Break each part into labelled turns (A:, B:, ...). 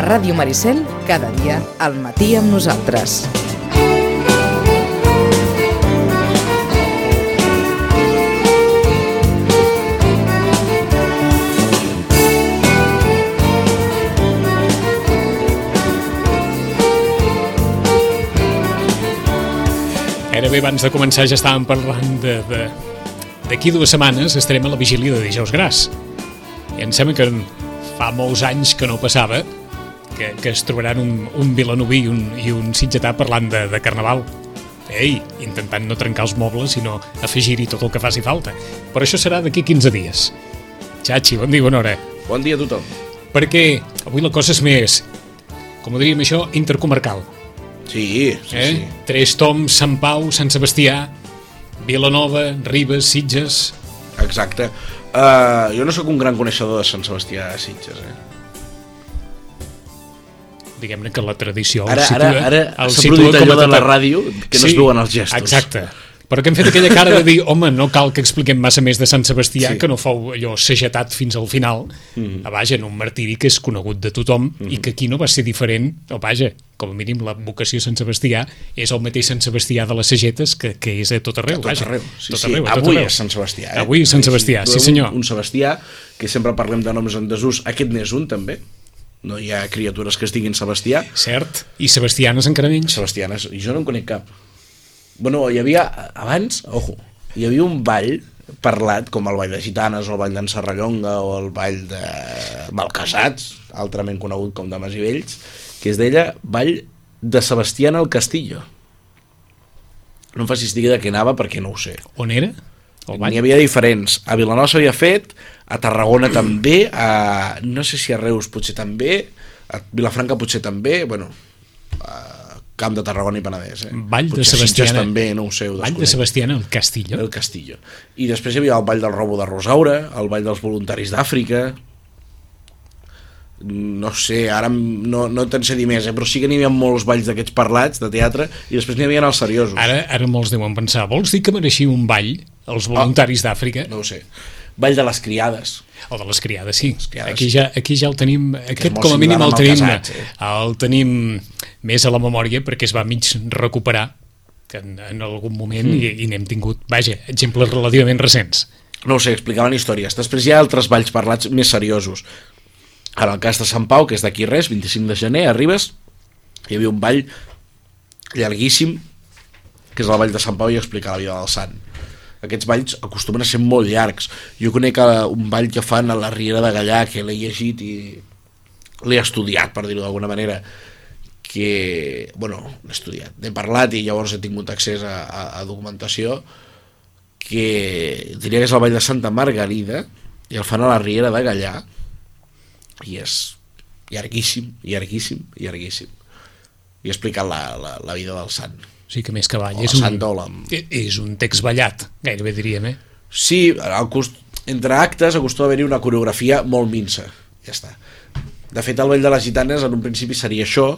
A: Ràdio Maricel, cada dia al matí amb nosaltres.
B: Gairebé abans de començar ja estàvem parlant de... de... D'aquí dues setmanes estarem a la vigília de Dijous Gras. I em sembla que en- fa molts anys que no passava que, que es trobaran un, un vilanoví i un, i un sitgetà parlant de, de carnaval. Ei, intentant no trencar els mobles, sinó afegir-hi tot el que faci falta. Però això serà d'aquí 15 dies. Xachi, bon dia, bona hora.
C: Bon dia a tothom.
B: Perquè avui la cosa és més, com ho diríem això, intercomarcal.
C: Sí, sí,
B: eh?
C: sí.
B: Tres Toms, Sant Pau, Sant Sebastià, Vilanova, Ribes, Sitges...
C: Exacte. Uh, jo no sóc un gran coneixedor de Sant Sebastià de Sitges, eh?
B: Diguem-ne que la tradició
C: Ara-
B: el situa,
C: ara- ara
B: el
C: s'ha
B: situa
C: produït
B: com a
C: allò de la
B: tata-
C: ràdio que no es veuen els gestos.
B: Exacte. Però que hem fet aquella cara de dir, home, no cal que expliquem massa més de Sant Sebastià, sí.
C: Sí. Mm-hmm.
B: que no fou allò segetat fins al final. Mm -hmm. A vaja, en un martiri que és conegut de tothom mm -hmm. i que aquí no va ser diferent, o vaja, com a mínim la vocació de Sant Sebastià és el mateix Sant Sebastià de les Segetes que, que és a tot arreu. A
C: Tot
B: vaja,
C: arreu. Sí,
B: tot
C: sí.
B: arreu, a tot
C: Avui
B: arreu.
C: és Sant Sebastià, eh?
B: Avui és Sant Sebastià, sí,
C: trobem
B: senyor.
C: Un, un Sebastià, que sempre parlem de noms en desús, aquest n'és un, també. No hi ha criatures que es diguin Sebastià.
B: Cert, i Sebastianes encara menys.
C: Sebastianes, i jo no en conec cap. Bueno, hi havia, abans, ojo, hi havia un ball parlat, com el ball de Gitanes, o el ball d'en Serrallonga, o el ball de Malcasats, altrament conegut com de Masivells, que es deia ball de Sebastián al Castillo. No em facis dir de què anava perquè no ho sé.
B: On era? El
C: N'hi
B: ball?
C: havia diferents. A Vilanova s'havia fet, a Tarragona també, a... no sé si a Reus potser també, a Vilafranca potser també, bueno, a Camp de Tarragona i Penedès. Eh?
B: Ball de
C: potser a Sitges
B: Sebastiana.
C: també, no ho sé, ho
B: Ball de
C: desconec.
B: Sebastiana al Castillo.
C: El Castillo. I després hi havia el Ball del Robo de Rosaura, el Ball dels Voluntaris d'Àfrica, no sé, ara em- no, no te'n sé dir més, eh? però sí que n'hi havia molts balls d'aquests parlats, de teatre, i després n'hi havia els seriosos.
B: Ara, ara molts deuen pensar, vols dir que mereixia un ball els voluntaris d'Àfrica?
C: Ah. No ho sé. Ball de les criades.
B: O de les criades, sí.
C: criades.
B: Aquí ja, aquí ja el tenim, aquest
C: molt
B: com a
C: similar
B: mínim el
C: amb el
B: tenim,
C: casat, eh?
B: el tenim més a la memòria perquè es va mig recuperar que en, en algun moment
C: Hmm.
B: i, i n'hem tingut, vaja, exemples relativament recents.
C: no ho sé, explicaven històries. Després hi ha altres balls parlats més seriosos. En el cas de Sant Pau, que és d'aquí res, 25 de gener, arribes, hi havia un ball llarguíssim, que és el ball de Sant Pau i explicar la vida del sant. Aquests balls acostumen a ser molt llargs. Jo conec eh, un ball que fan a la Riera de Gallà, que l'he llegit i l'he estudiat, per dir-ho d'alguna manera, que, bueno, l'he estudiat, n'he parlat i llavors he tingut accés a, a, a documentació, que diria que és el Vall de Santa Margarida i el fan a la Riera de Gallà i és llarguíssim, llarguíssim, llarguíssim i he explicat la, la, la vida del sant
B: O sigui que més que ball
C: O
B: és
C: la
B: un,
C: Sandòlam.
B: és un text ballat, gairebé diríem, eh?
C: sí, al cost, entre actes acostuma a haver-hi una coreografia molt minsa ja està de fet el Vall de les Gitanes en un principi seria això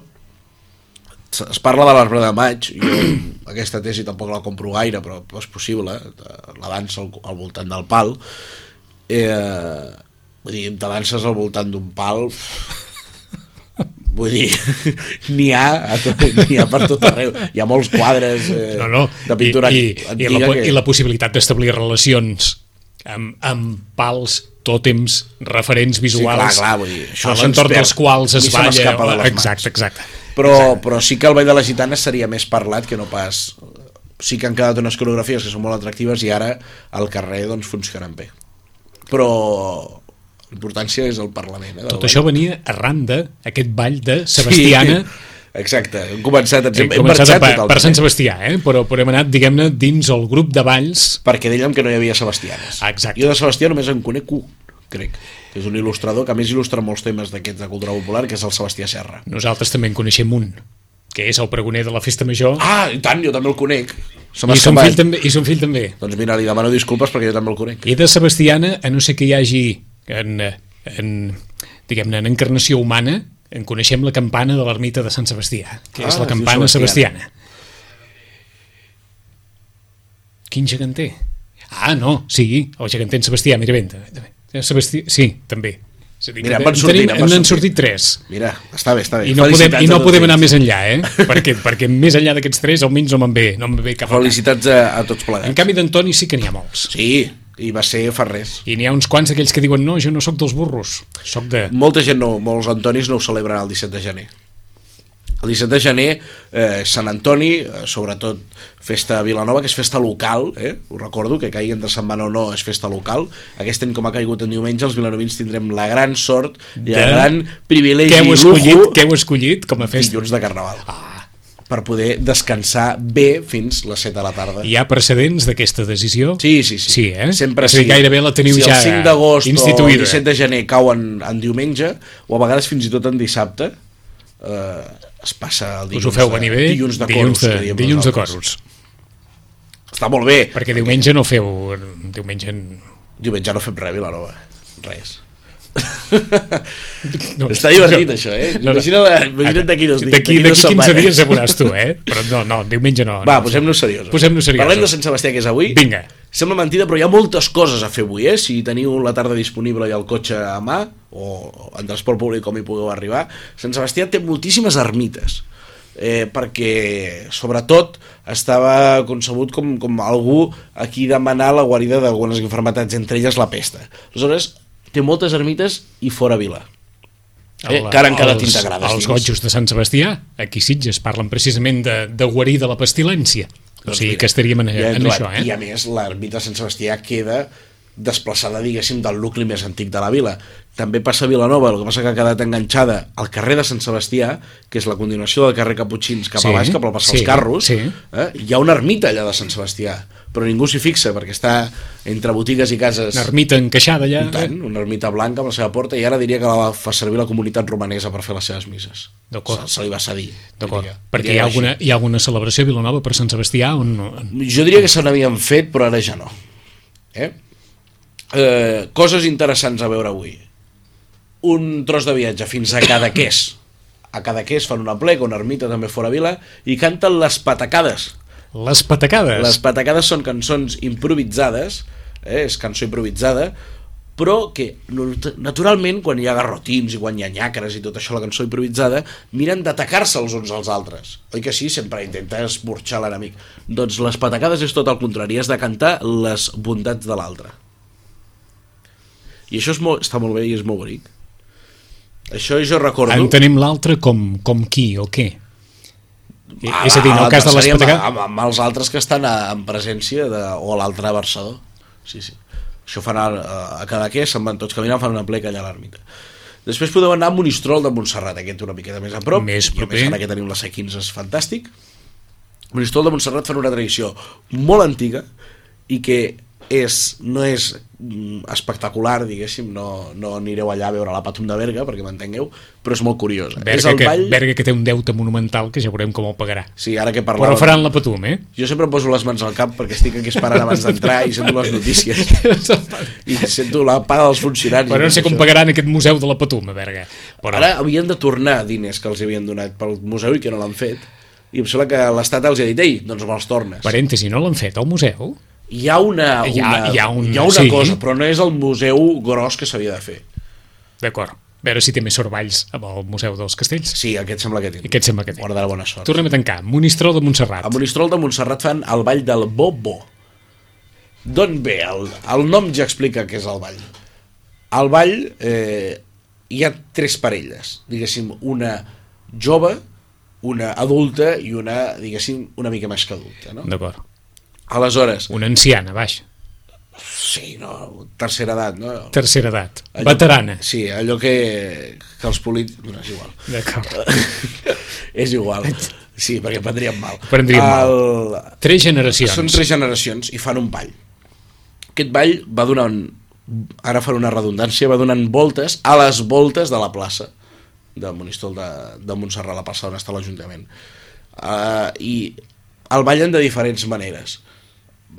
C: S- es parla de l'arbre de maig jo aquesta tesi tampoc la compro gaire però és possible eh, la dansa al, al voltant del pal eh, vull dir, te danses al voltant d'un pal vull dir n'hi ha, a tot, n'hi ha per tot arreu hi ha molts quadres eh,
B: no, no.
C: de pintura
B: I, i, i,
C: antiga
B: la, po-
C: que...
B: i la possibilitat d'establir relacions amb, amb pals, tòtems, referents visuals,
C: clar, clar, vull dir,
B: a
C: això se'ns
B: l'entorn
C: perd.
B: dels quals
C: A
B: es
C: mi se
B: balla.
C: m'escapa de les mans.
B: exacte, exacte.
C: però, però sí que el Ball de les Gitanes seria més parlat que no pas sí que han quedat unes coreografies que són molt atractives i ara al carrer doncs funcionen bé però l'importància és el Parlament eh, del
B: Tot
C: ball.
B: això venia arran de aquest ball de Sebastiana, sí.
C: sí, exacte, hem començat hem,
B: Hem
C: hem
B: començat
C: marxat
B: per, per
C: totalment
B: Sant Sebastià, eh? però, però hem anat, diguem-ne, dins el grup de balls
C: perquè dèiem que no hi havia Sebastianes
B: Exacte.
C: jo de Sebastià només en conec un crec, que és un il·lustrador que a més il·lustra molts temes d'aquests de cultura popular que és el Sebastià Serra
B: nosaltres també en coneixem un, que és el pregoner de la festa major,
C: ah, i tant, jo també el conec se m'ha
B: i, son fill,
C: escapat
B: també, i son fill també.
C: doncs mira, li demano disculpes perquè jo també el conec
B: I de Sebastiana, a no sé que hi hagi en, en diguem-ne, en encarnació humana, en coneixem la campana de l'ermita de Sant Sebastià, que és
C: Ah,
B: la
C: es diu
B: campana
C: Sebastiana.
B: sebastiana. Quin geganter? Ah, no, sí, el geganter en Sebastià, mira, venta. Sebastià, sí, també. És a dir,
C: Mira,
B: que
C: em van sortint,
B: tenim-
C: em van
B: n'han
C: sortint.
B: sortit tres.
C: Mira, està bé, està bé.
B: I no podem,
C: Felicitats
B: i
C: a
B: no
C: tots
B: podem anar
C: ells.
B: més enllà, eh? Perquè, perquè més enllà d'aquests tres, almenys no me'n ve, no me'n ve cap altre.
C: Felicitats a, a tots
B: En
C: plegats.
B: canvi, d'Antoni sí que n'hi ha molts.
C: Sí, i va ser fa res.
B: I n'hi ha uns quants d'aquells que diuen no, jo no sóc dels burros, sóc de...
C: Molta gent no, molts Antonis no ho celebren el 17 de gener. El 17 de gener, eh, Sant Antoni, eh, sobretot festa a Vilanova, que és festa local, eh? ho recordo, que caigui entre setmana o no és festa local. Aquest any, com ha caigut en diumenge, els vilanovins tindrem la gran sort i
B: De-
C: el gran privilegi
B: Què heu,
C: i
B: escollit,
C: lujo
B: què heu Ah. escollit com a festa?
C: dilluns de Carnaval. Per poder descansar bé fins les 7 de la tarda.
B: Hi ha precedents d'aquesta decisió?
C: Sí, sí, sí.
B: Sí, eh?
C: Sempre
B: És a dir,
C: sí.
B: gairebé la teniu
C: si
B: ja
C: el 5 d'agost o el
B: instituïda.
C: 17 de gener cau en, en diumenge, o a vegades fins i tot en dissabte, eh, es passa el
B: Us
C: dilluns,
B: ho feu
C: de-
B: venir bé?
C: dilluns de
B: dilluns
C: Corus. que
B: de,
C: diem
B: dilluns de
C: nosaltres.
B: Corus.
C: Està molt bé.
B: Perquè diumenge no feu... Diumenge...
C: Diumenge no fem res a Vilanova. Res.
B: No,
C: Està divertit, això, eh?
B: No, no.
C: Imagina la- imagina't d'aquí dos dies,
B: D'aquí
C: d'aquí
B: d'aquí 15
C: dues setmanes.
B: dies ja veuràs tu, eh? Però no, no, diumenge no.
C: Va,
B: no.
C: posem-nos seriosos.
B: Posem-nos seriosos.
C: Parlem de Sant Sebastià, que és avui.
B: Vinga.
C: Sembla mentida, però hi ha moltes coses a fer avui, eh? Si teniu la tarda disponible i el cotxe a mà, o en transport públic com hi pugueu arribar, Sant Sebastià té moltíssimes ermites. Eh, perquè sobretot estava concebut com, com algú a qui demanar la guarida d'algunes enfermetats, entre elles la pesta. Aleshores, té moltes ermites i fora vila. Eh,
B: El-
C: que ara encara
B: els-
C: t'integraves
B: Els
C: dins.
B: gotjos de Sant Sebastià, aquí Sitges, parlen precisament de, de guarir de la pestilència. o
C: Doncs
B: sigui
C: mira,
B: que estaríem en,
C: ja he
B: en
C: trobat.
B: això, eh?
C: I a més, l'ermita de Sant Sebastià queda desplaçada, diguéssim, del nucli més antic de la vila. També passa a Vilanova, el que passa que ha quedat enganxada al carrer de Sant Sebastià, que és la continuació del carrer Caputxins cap
B: Sí,
C: sí, a baix, cap al passar
B: sí,
C: els carros.
B: sí.
C: Eh? Hi ha una ermita allà de Sant Sebastià, però ningú s'hi fixa, perquè està entre botigues i cases...
B: Una ermita eh? encaixada allà.
C: I tant, una ermita blanca amb la seva porta i ara diria que la fa servir la comunitat romanesa per fer les seves misses.
B: D'acord.
C: Se, se li va cedir.
B: D'acord,
C: diria.
B: perquè hi
C: Diria
B: ha,
C: així.
B: alguna, hi ha alguna celebració a Vilanova per Sant Sebastià on... no-
C: Jo diria que se n'havien fet, però ara ja no. Eh? Eh, coses interessants a veure avui. Un tros de viatge fins a Cadaqués. A Cadaqués fan una plega, una ermita també fora vila, i canten les patacades.
B: Les patacades.
C: Les patacades són cançons improvisades, eh, és cançó improvisada, però que no- naturalment quan hi ha garrotins i quan hi ha nyacres i tot això, la cançó improvisada, miren d'atacar-se els uns als altres. Oi que sí? Sempre intentes burxar l'enemic. Doncs les patacades és tot el contrari, és de cantar les bondats de l'altre. I això és molt, està molt bé i és molt bonic. Això jo recordo...
B: Ah, Entenem l'altre com, com qui o què? I-
C: Ah,
B: és a dir, en
C: ah,
B: el cas de les
C: seria amb-
B: patacades...
C: Amb, amb, els altres que estan a, en presència de, o l'altre versador. Sí, sí. Això fan a, a Cadaqués, se'n van tots caminant, fan una pleca allà a l'ermita. Després podeu anar a Monistrol de Montserrat, aquest una miqueta més a prop.
B: Més
C: I a
B: proper.
C: més ara que tenim la C15 és fantàstic. Monistrol de Montserrat fan una tradició molt antiga i que és, no és mm, espectacular, diguéssim, no, no anireu allà a veure la Patum de Berga, perquè m'entengueu, però és molt curiosa. és
B: Berga
C: el
B: que,
C: ball...
B: Berga que té un deute monumental que ja veurem com el pagarà.
C: Sí, ara que
B: Però
C: parlàvem...
B: faran la patum, eh?
C: Jo sempre em poso les mans al cap perquè estic aquí esperant abans d'entrar i sento les notícies i sento la paga dels funcionaris.
B: Però no sé com
C: Això.
B: pagaran aquest museu de la Patum, a Berga. Però
C: Ara havien de tornar diners que els havien donat pel museu i que no l'han fet. I em sembla que l'Estat els ha dit, ei, doncs me'ls tornes.
B: parèntesi, no l'han fet al museu?
C: Hi ha una, una,
B: Hi ha- hi ha un-
C: hi ha una
B: sí.
C: cosa, però no és el museu gros que s'havia de fer.
B: D'acord. A veure si té més sorballs amb el Museu dels Castells.
C: Sí, aquest sembla que té.
B: Aquest sembla que té.
C: Guarda la bona sort.
B: Tornem a tancar. Monistrol de Montserrat.
C: A Monistrol de Montserrat fan el ball del Bobo. D'on ve? El, el nom ja explica què és el ball. Al ball eh, hi ha tres parelles, diguéssim, una jove, una adulta i una, diguéssim, una mica més que adulta, no?
B: D'acord.
C: Aleshores,
B: Una anciana, baix.
C: sí, no, tercera edat, no?
B: Tercera edat. Veterana.
C: Sí, allò que, que els polítics... No, és igual.
B: D'acord.
C: és igual. Sí, perquè prendríem mal.
B: Prendríem mal.
C: el,
B: Tres generacions.
C: Són tres generacions i fan un ball. Aquest ball va donant, ara fan una redundància, va donant voltes a les voltes de la plaça de Monistol de, de Montserrat, la plaça on està l'Ajuntament. Uh, I el ballen de diferents maneres.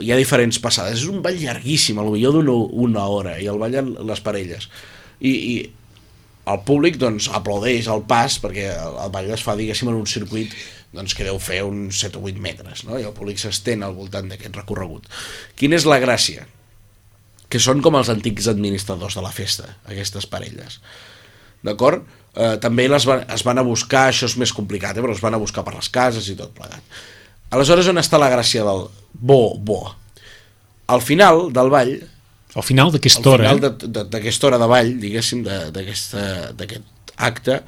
C: Hi ha diferents passades. És un ball llarguíssim, a lo millor d'una una hora, i el ballen les parelles. I, i el públic doncs, aplaudeix el pas perquè el el ball es fa diguéssim en un circuit doncs, que deu fer uns 7 o 8 metres no? i el públic s'estén al voltant d'aquest recorregut quina és la gràcia? que són com els antics administradors de la festa, aquestes parelles. D'acord? Eh, també les van, es van a buscar, això és més complicat, eh, però es van a buscar per les cases i tot plegat. Aleshores, on està la gràcia del bo, bo? Al final del ball,
B: Al final
C: al
B: d'aquesta Tota hora, eh?
C: final
B: de...
C: de- de- d'aquesta hora de ball, diguéssim, de- d'aquesta- d'aquest acte,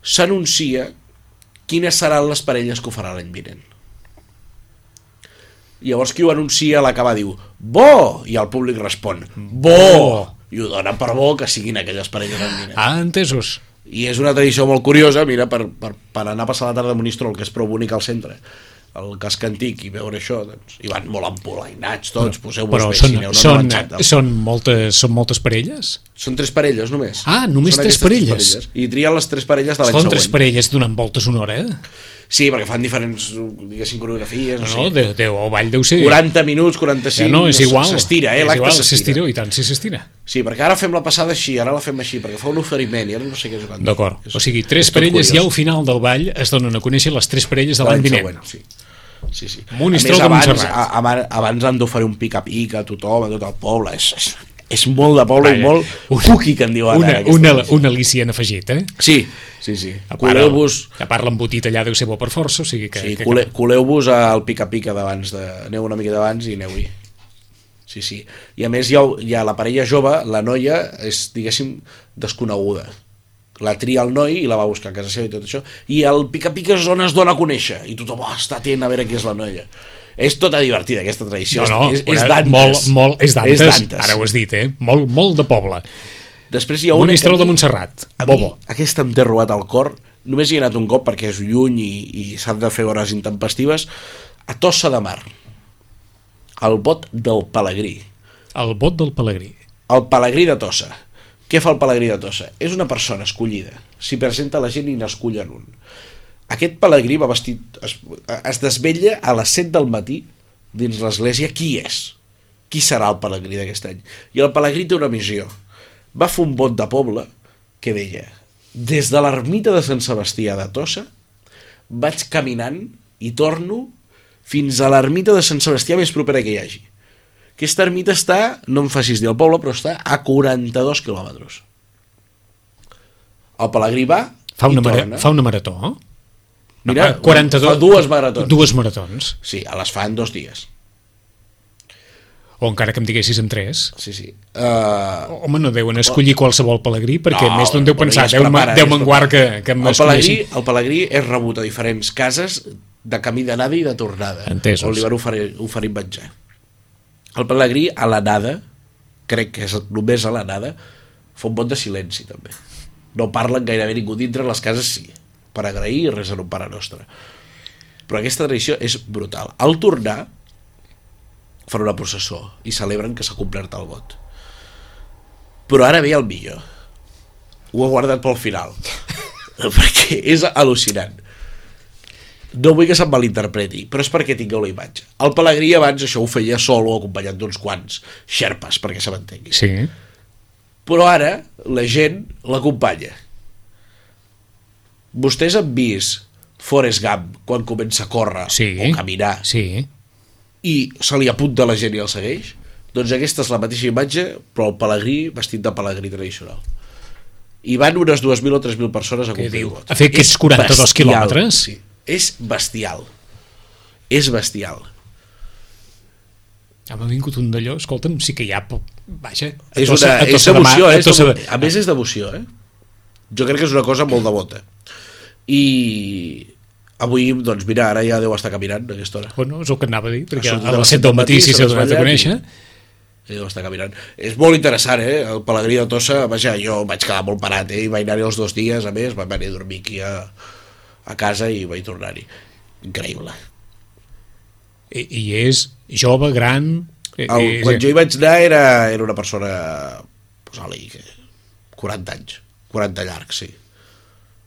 C: s'anuncia quines seran les parelles que ho farà l'any vinent. Llavors qui ho anuncia a l'acabar diu bo, i el públic respon bo, i ho donen per bo que siguin aquelles parelles l'any vinent.
B: ah, entesos.
C: I és una tradició molt curiosa, mira, per, per, per anar a passar la tarda a Monistrol, que és prou bonic al centre, el casc antic i veure això, doncs, i van molt empolainats tots, poseu-vos
B: Però
C: bé,
B: són,
C: si aneu no
B: són,
C: relaxat.
B: són, moltes, són moltes parelles?
C: Són tres parelles, només.
B: Ah, només
C: Són
B: tres
C: aquestes tres
B: parelles.
C: parelles. I trien les tres parelles de l'any
B: Són
C: següent.
B: tres parelles donant voltes una hora, eh?
C: Sí, perquè fan diferents, diguéssim, coreografies, no,
B: No,
C: sé.
B: Déu, Déu, el ball deu ser...
C: 40 minuts,
B: ja
C: 45...
B: no, és
C: s-
B: igual.
C: S'estira, eh?
B: És
C: L'acte
B: igual,
C: s'estira.
B: s'estira. I tant, sí, s'estira.
C: Sí, perquè ara fem la passada així, ara la fem així, perquè fa un oferiment i ara no sé què és. quan-
B: D'acord.
C: És-
B: O sigui, tres
C: és tot
B: parelles
C: curiós.
B: ja al final del ball es donen a conèixer les tres parelles de l'any vinent.
C: Sí. Sí, sí.
B: Monistrol
C: a
B: de
C: més, abans,
B: Montserrat.
C: a, abans, abans han d'oferir un pica-pica a tothom, a tot el poble. És, és, és molt de poble
B: Vaja,
C: i molt
B: una-
C: cuqui, que en diuen.
B: Una,
C: ara, aquesta
B: una,
C: cosa.
B: una al·licient afegit, eh?
C: Sí, sí, sí.
B: A part, el,
C: Cuideu-vos...
B: a part l'embotit allà deu ser bo per força, o sigui que...
C: Sí,
B: que,
C: cole, coleu-vos al pica-pica d'abans, de... aneu una mica d'abans i aneu-hi. Sí, sí. I a més hi ha, hi ha la parella jove, la noia és, diguéssim, desconeguda. La tria el noi i la va buscar a casa seva i tot això. I el pica-pica és on es dona a conèixer. I tothom oh, està atent a veure qui és la noia. És tota divertida, aquesta tradició.
B: No, no,
C: és, és
B: una-
C: Dantes.
B: Molt, molt, és Dantes,
C: És Dantes.
B: ara ho has dit, eh? Molt, molt de poble.
C: Després hi ha una...
B: Monistrol
C: que a
B: de
C: mi-
B: Montserrat,
C: A mi,
B: Bobo.
C: aquesta em té robat el cor. Només hi he anat un cop perquè és lluny i, i s'han de fer hores intempestives. A Tossa de Mar. El bot del Pelegrí.
B: El vot del Pelegrí.
C: El Pelegrí de Tossa. Què fa el Pelegrí de Tossa? És una persona escollida. S'hi presenta la gent i n'escullen un. Aquest Pelegrí va vestit... Es, es desvella a les 7 del matí dins l'església qui és. Qui serà el Pelegrí d'aquest any? I el Pelegrí té una missió. Va fer un vot de poble que deia des de l'ermita de Sant Sebastià de Tossa vaig caminant i torno fins a l'ermita de Sant Sebastià més propera que hi hagi. Aquesta ermita està, no em facis dir el poble, però està a 42 quilòmetres. El Pelegrí va
B: Fa una,
C: i
B: mara,
C: torna.
B: fa una marató, no?
C: Mira,
B: Ah, 42,
C: fa dues maratons.
B: Dues maratons.
C: Sí, les fa en dos dies.
B: O encara que em diguessis en tres.
C: Sí, sí. Uh,
B: Home, no deuen escollir qualsevol pelegrí, perquè
C: No,
B: més d'un deu
C: però ja
B: pensar,
C: es
B: deu, ma-
C: prepara,
B: deu
C: ja es
B: menguar que,
C: prepara.
B: que em
C: el, Pelegrí,
B: escollissin.
C: el Pelegrí és rebut a diferents cases de camí d'anada i de tornada.
B: Entesos.
C: On li van oferir, oferir menjar. El Pelegrí, a l'anada, crec que és només a l'anada, fa un vot de silenci, també. No parlen gairebé ningú dintre, les cases sí. Per agrair i resen un pare nostre. Però aquesta tradició és brutal. Al tornar, fan una processó i celebren que s'ha complert el vot. Però ara ve el millor. Ho he guardat pel final. perquè és al·lucinant. No vull que se'n malinterpreti, però és perquè tingueu la imatge. El Pelegrí abans això ho feia sol o acompanyat d'uns quants xerpes, perquè se m'entengui
B: Sí.
C: però ara la gent l'acompanya. Vostès han vist Forrest Gump quan comença a córrer
B: Sí.
C: o caminar
B: Sí.
C: i se li apunta la gent i el segueix? Doncs aquesta és la mateixa imatge, però el pelegrí vestit de pelegrí tradicional. I van unes 2.000 o 3.000 persones a complir
B: diu?
C: el vot.
B: A fer aquests
C: És
B: 42
C: bestial,
B: quilòmetres?
C: Sí, és bestial. És bestial.
B: Ja m'ha vingut un d'allò, escolta'm, sí que hi ha... po- Vaja, a
C: És,
B: Tossa-
C: una,
B: a
C: és
B: Tossa de Mar-
C: devoció,
B: a
C: eh? És
B: Tossa de-
C: devo- A més, és devoció, eh? Jo crec que és una cosa molt devota. I avui, doncs mira, ara ja deu estar caminant a aquesta hora.
B: Bueno, és el que anava a dir, perquè
C: Ha
B: a,
C: sortit
B: les 7 del matí sí
C: se
B: s'ha
C: les
B: donat a
C: ballen
B: conèixer.
C: I deu estar caminant. És molt interessant, eh? El Pelegrí de Tossa, vaja, jo vaig quedar molt parat, eh? I vaig anar-hi els dos dies, a més, vaig venir a dormir aquí a, a casa i vaig tornar-hi. Increïble.
B: I, I és jove, gran... eh,
C: El,
B: eh,
C: quan jo hi vaig anar era, era una persona posant-li que 40 anys 40 llargs, sí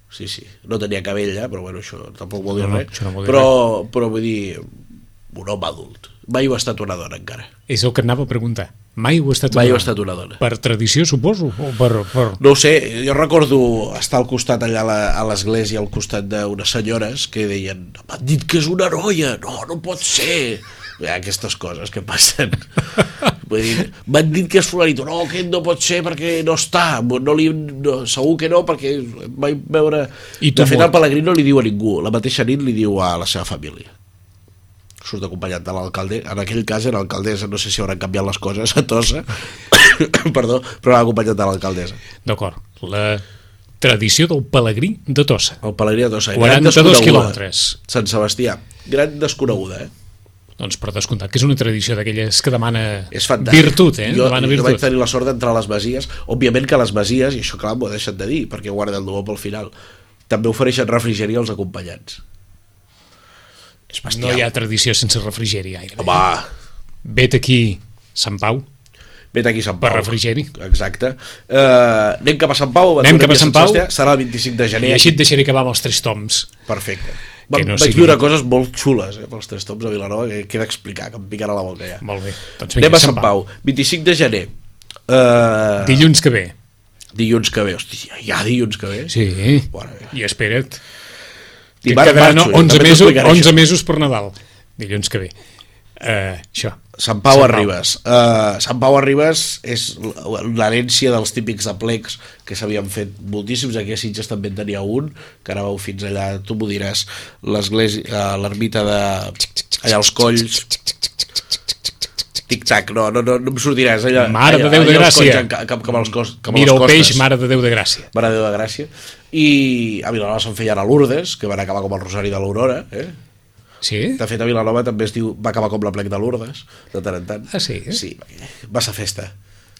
C: sí, sí, no tenia cabell eh? però bueno, això tampoc vol dir
B: No, no,
C: res
B: això no vol dir
C: però, però vull dir un home adult mai ho ha estat una dona encara
B: És el que anava a preguntar. Mai ho ha estat
C: mai ho
B: una-
C: ha estat una dona
B: Per tradició, suposo, o per... per...
C: no ho sé, jo recordo estar al costat allà a la- a l'església, al costat d'unes senyores que deien, m'han dit que és una noia, no, no pot ser. Bé, Aquestes coses que passen. Vull dir, m'han dit que és fulanito, no, aquest no pot ser perquè no està, no li, no, segur que no, perquè vaig veure...
B: I tu
C: de fet,
B: mort.
C: el Pellegrí no li diu a ningú, la mateixa nit li diu a la seva família surt acompanyat de l'alcalde, en aquell cas era alcaldessa, no sé si hauran canviat les coses a Tossa, perdó, però era acompanyat de l'alcaldessa.
B: D'acord. La tradició del pelegrí de Tossa.
C: El Pellegrí de Tossa. eh?
B: 42
C: gran desconeguda.
B: quilòmetres.
C: Sant Sebastià. Gran desconeguda, eh?
B: Doncs per descomptat, que és una tradició d'aquelles que demana
C: És fantàstic.
B: virtut, eh?
C: Jo,
B: demana
C: jo vaig
B: virtut.
C: tenir la sort d'entrar a les masies. Òbviament que les masies, i això clar, m'ho he deixat de dir, perquè guarda el dolor pel final, també ofereixen refrigeri als acompanyants. És bestial.
B: No hi ha tradició sense refrigeri, gairebé.
C: Home,
B: Vet aquí Sant Pau,
C: vet aquí a Sant Pau.
B: per refrigeri.
C: Exacte. Uh, anem cap a Sant Pau. abans
B: Anem cap
C: d'arribar
B: a Sant
C: Sant
B: Pau.
C: Sebastià. Serà el 25 de
B: I
C: gener.
B: així et deixaré acabar amb els tres toms.
C: Perfecte.
B: Que
C: Va,
B: no
C: no vaig
B: sigui-
C: viure coses molt xules eh, pels tres toms a Vilanova, que queda explicar, que em picarà la boca ja.
B: Molt bé. Doncs
C: Anem a Sant Pau, 25 de gener. Eh, Uh,
B: Dilluns que ve.
C: dilluns que ve, hòstia, ja dilluns que ve.
B: Sí.
C: Bueno, bé.
B: I espera't. Que
C: Dimarts
B: quedaran
C: marxo,
B: 11
C: també
B: mesos,
C: t'explicaré
B: 11
C: això.
B: mesos per Nadal. Dilluns que ve. Uh, això.
C: Sant Pau Arribes. Uh, Sant Pau Arribes és l- l'herència dels típics aplecs que s'havien fet moltíssims. Aquí a Sitges també en tenia un, que ara vau fins allà, tu m'ho diràs, l'església, eh, l'ermita de... allà als colls. Tic-tac, no, no, no, no em sortiràs. Allà,
B: Mare de
C: allà,
B: Déu de
C: allà als colls,
B: Gràcia.
C: en ca- Cap, cap, als cos, cap a
B: Mira
C: les
B: el peix,
C: costes.
B: mare de Déu de gràcia.
C: Mare de Déu de Gràcia. I a Vilanova se'n feien a Lourdes, que van acabar com el Rosari de l'Aurora, eh?
B: Sí?
C: De fet, a Vilanova també es diu va acabar com la plec de Lourdes, de tant en tant.
B: Ah, sí, eh?
C: Sí, massa festa.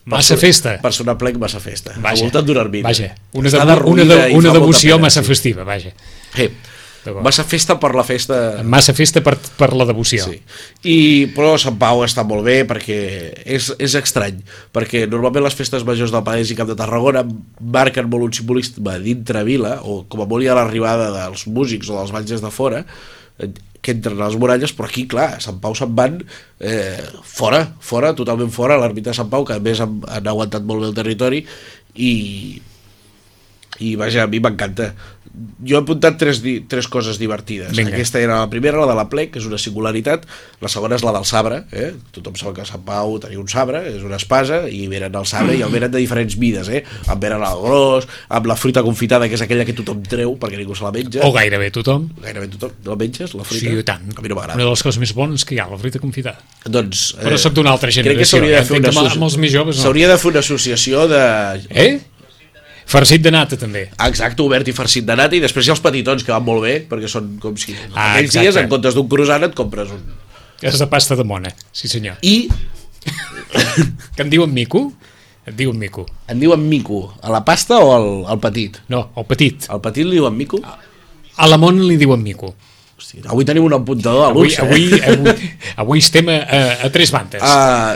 B: Massa
C: Per-
B: festa.
C: Per sonar plec, massa festa.
B: Vaja.
C: Al voltant d'una ermita.
B: Vaja. Una,
C: Està
B: de, una,
C: derruïda
B: de,
C: i
B: una
C: fa molta
B: devoció
C: pena,
B: massa
C: sí.
B: festiva, vaja.
C: Eh,
B: D'acord.
C: massa festa per la festa...
B: Massa festa per, per la devoció.
C: Sí. I, però Sant Pau està molt bé perquè és, és estrany, perquè normalment les festes majors del Palès i Camp de Tarragona marquen molt un simbolisme dintre vila, o com a molt hi ha l'arribada dels músics o dels balles de fora, eh, que entren a les muralles, però aquí, clar, a Sant Pau se'n van eh, fora, fora, totalment fora, a l'ermita de Sant Pau, que a més han, han aguantat molt bé el territori, i i vaja, a mi m'encanta jo he apuntat tres, di tres coses divertides
B: Vinga.
C: aquesta era la primera, la de la plec que és una singularitat, la segona és la del sabre eh? tothom sap que a Sant Pau tenia un sabre és una espasa i venen el sabre i el venen de diferents mides, eh? en venen el gros amb la fruita confitada que és aquella que tothom treu perquè ningú se la menja
B: O gairebé tothom.
C: gairebé tothom, no la menges la
B: Sí,
C: fruita?
B: i tant.
C: a mi no
B: Una
C: m'agrada
B: de les coses més bones que hi ha, la fruita confitada.
C: doncs,
B: Però sóc d'una altra
C: crec que
B: generació,
C: s'hauria
B: eh?
C: de, fer
B: Entenc
C: una
B: que amb-
C: associ-
B: amb els més joves no.
C: s'hauria de fer una associació de
B: Eh? Farcit de nata, també.
C: Exacte, obert i farcit de nata i després hi ha els petitons que van molt bé perquè són com si
B: Ah,
C: ah, aquells
B: exacte.
C: dies en comptes d'un croissant et compres un
B: És de pasta de mona, sí senyor.
C: i
B: Que en diuen mico? Et diuen mico.
C: en diuen mico a la pasta o al, al petit?
B: No, el petit.
C: al petit li diuen mico?
B: Ah, A la mona li diuen mico.
C: Hosti, avui tenim un apuntador a
B: Avui,
C: luxe
B: avui,
C: eh?
B: avui, avui estem a, a, a tres bandes.
C: Ah,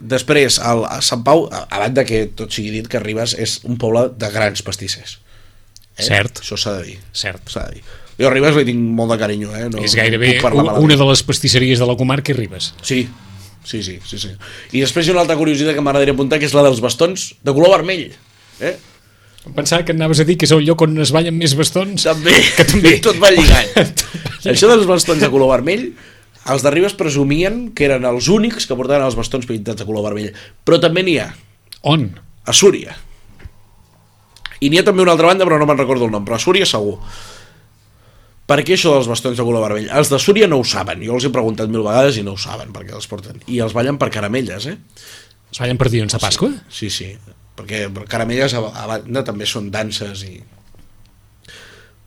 C: després al, a Sant Pau, a, a banda que tot sigui dit que Ribes és un poble de grans pastissers
B: Cert,
C: això s'ha de dir
B: cert.
C: s'ha de dir jo a Ribes li tinc molt de carinyo eh? no,
B: És
C: no
B: gairebé
C: puc parlar malament.
B: una de les pastisseries de la comarca i Ribes.
C: Sí, sí, sí, sí, sí. I després hi ha una altra curiositat que m'agradaria apuntar, que és la dels bastons de color vermell. Eh?
B: Em pensava que anaves a dir que és el lloc on es ballen més bastons.
C: També,
B: Que també.
C: tot va lligat. Això dels bastons de color vermell, els de Ribes presumien que eren els únics que portaven els bastons pintats de color vermell. Però també n'hi ha,
B: On?
C: a Súria. I n'hi ha també una altra banda, però no me'n recordo el nom, però a Súria segur. Per què això dels bastons de color vermell? Els de Súria no ho saben, jo els he preguntat mil vegades i no ho saben perquè els porten. I els ballen per caramelles, eh?
B: Es ballen per dilluns de Pasqua?
C: Sí, sí, perquè caramelles a, a banda també són danses i...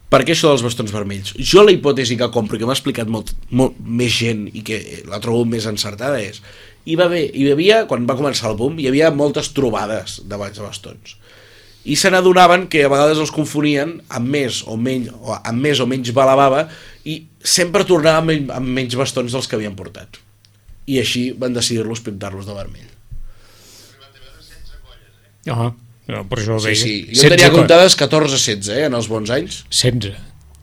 C: Per què això dels bastons vermells? Jo la hipòtesi que compro, i que m'ha explicat molt, molt més gent i que la trobo més encertada és hi va haver, hi havia, quan va començar el boom, hi havia moltes trobades de balls de bastons. I se n'adonaven que a vegades els confonien amb més o menys, o amb més o menys balabava i sempre tornaven amb, men- amb menys bastons dels que havien portat. I així van decidir-los pintar-los de vermell.
B: No, Ah, no per això ho
C: Sí,
B: deia.
C: sí. Jo en tenia comptades 14-16, eh, en els bons anys.
B: 16.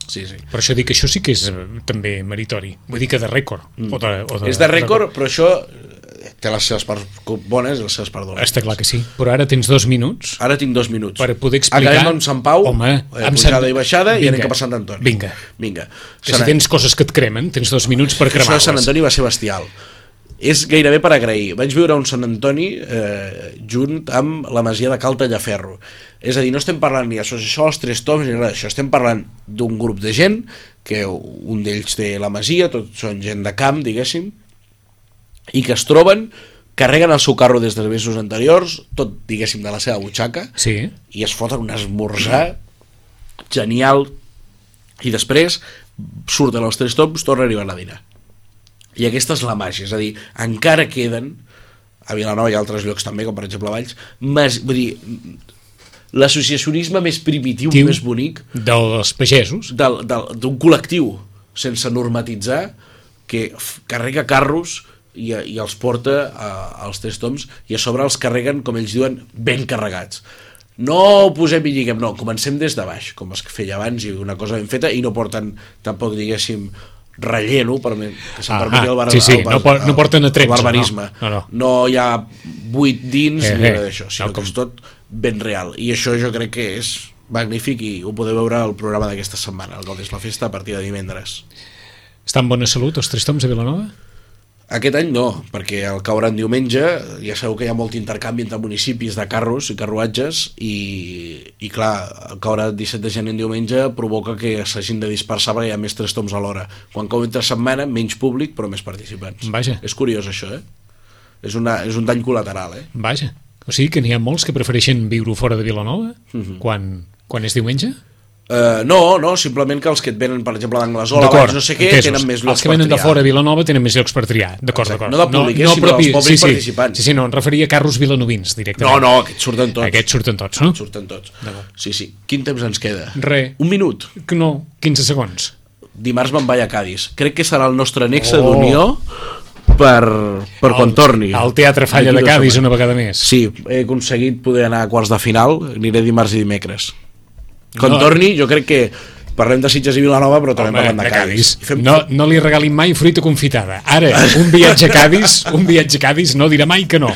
C: Sí, sí.
B: Per això dic que això sí que és eh, també meritori. Vull dir que de rècord. Mm. O de, o
C: És de rècord, però això eh, té les seves parts bones i les seves parts dolentes.
B: Està clar que sí. Però ara tens dos minuts
C: Ara tinc dos minuts.
B: per poder explicar...
C: Acabem amb Sant Pau,
B: Home,
C: eh,
B: amb
C: pujada i baixada, i anem cap a Sant Antoni.
B: Vinga.
C: Vinga.
B: Que si tens coses que et cremen, tens dos minuts per
C: Això de
B: cremar-les.
C: Sant Antoni va ser bestial. és gairebé per agrair. Vaig viure a un Sant Antoni eh, junt amb la masia de Cal Tallaferro. És a dir, no estem parlant ni d'associació als tres toms ni res d'això, estem parlant d'un grup de gent, que un d'ells té la masia, tots són gent de camp, diguéssim, i que es troben, carreguen el seu carro des dels mesos anteriors, tot, diguéssim, de la seva butxaca,
B: Sí.
C: i es foten un esmorzar genial i després surten els tres toms, tornen i van a dinar i aquesta és la màgia, és a dir, encara queden a Vilanova i altres llocs també, com per exemple Valls mas, vull dir l'associacionisme més primitiu,
B: Tiu.
C: més bonic
B: Dels pagesos.
C: del- del- d'un col·lectiu sense normatitzar que f- carrega carros i, i els porta a, als tres toms i a sobre els carreguen, com ells diuen, ben carregats. No ho posem i lliguem, no, comencem des de baix, com es feia abans i una cosa ben feta i no porten tampoc, diguéssim, relleno, per mi, que se'n
B: Ah,
C: permeti
B: ah,
C: el, bar,
B: sí, sí,
C: el, bar-
B: no por- no porten
C: el
B: atrecs, no,
C: barbarisme.
B: no, no.
C: no hi ha buit dins
B: Eh,
C: eh, ni
B: eh,
C: res d'això, sinó
B: tal
C: que
B: com.
C: és tot ben real. I això jo crec que és magnífic i ho podeu veure al programa d'aquesta setmana, el Godes la Festa, a partir de divendres.
B: Està en bona salut els tres toms a Vilanova?
C: Aquest any no, perquè el cauran diumenge, ja sabeu que hi ha molt intercanvi entre municipis de carros i carruatges i, i clar, el caure el 17 de gener en diumenge provoca que s'hagin de dispersar perquè hi ha més tres toms alhora. Quan cau entre setmana, menys públic, però més participants.
B: Vaja.
C: És curiós això, eh? És, una, és un dany col·lateral, eh?
B: Vaja. O sigui que n'hi ha molts que prefereixen viure fora de Vilanova
C: Mhm.
B: quan, quan és diumenge?
C: Uh, no, no, simplement que els que et venen, per exemple, d'Anglesola,
B: D'acord,
C: abans no sé què,
B: entesos.
C: tenen més llocs
B: Els que venen de
C: per triar.
B: fora a Vilanova tenen més llocs per triar. D'acord, d'acord.
C: Exacte. No de públic, eh, sinó dels pobres
B: sí, sí.
C: participants.
B: Sí, sí, no, em referia a carros vilanovins
C: No,
B: directament.
C: no, aquests surten tots.
B: Aquests surten tots, no?
C: surten tots. Sí, sí. Quin temps ens queda?
B: Re.
C: Un minut.
B: Que No, 15 segons.
C: Dimarts me'n vaig a Cádiz. Crec que serà el nostre nexe
B: Oh.
C: d'unió per, per quan torni.
B: Al Teatre Falla de
C: D'aquí dues
B: Cádiz una
C: setmanes.
B: vegada més.
C: Sí, he aconseguit poder anar a quarts de final. Aniré dimarts i dimecres. Quan
B: No.
C: torni, jo crec que parlem de Sitges i Vilanova, però també parlem de, Cádiz. I Fem...
B: No, no li regalin mai fruita confitada. Ara, un viatge a Cádiz, un viatge a Cádiz no dirà mai que no.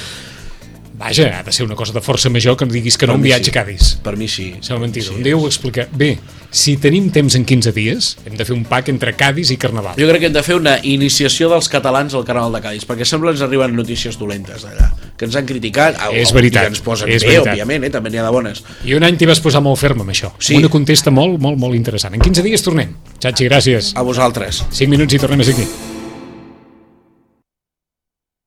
B: Vaja, ha de ser una cosa de força major que no diguis que no a un
C: mi
B: viatge
C: sí.
B: a Cádiz.
C: Per mi sí.
B: Sembla mentida. Un dia ho explica. Bé, si tenim temps en 15 dies, hem de fer un pack entre Cádiz i Carnaval.
C: Jo crec que hem de fer una iniciació dels catalans al canal de Cádiz, perquè sembla que ens arriben notícies dolentes d'allà, que ens han criticat, au,
B: És
C: au,
B: veritat,
C: i ens posen
B: és
C: bé,
B: veritat.
C: òbviament, eh? també n'hi ha de bones.
B: I un any t'hi vas posar molt ferm amb això.
C: Sí.
B: Una
C: Ah.
B: contesta molt, molt, molt interessant. En 15 dies tornem. Xachi, gràcies.
C: A vosaltres.
B: 5 minuts i tornem a ser aquí.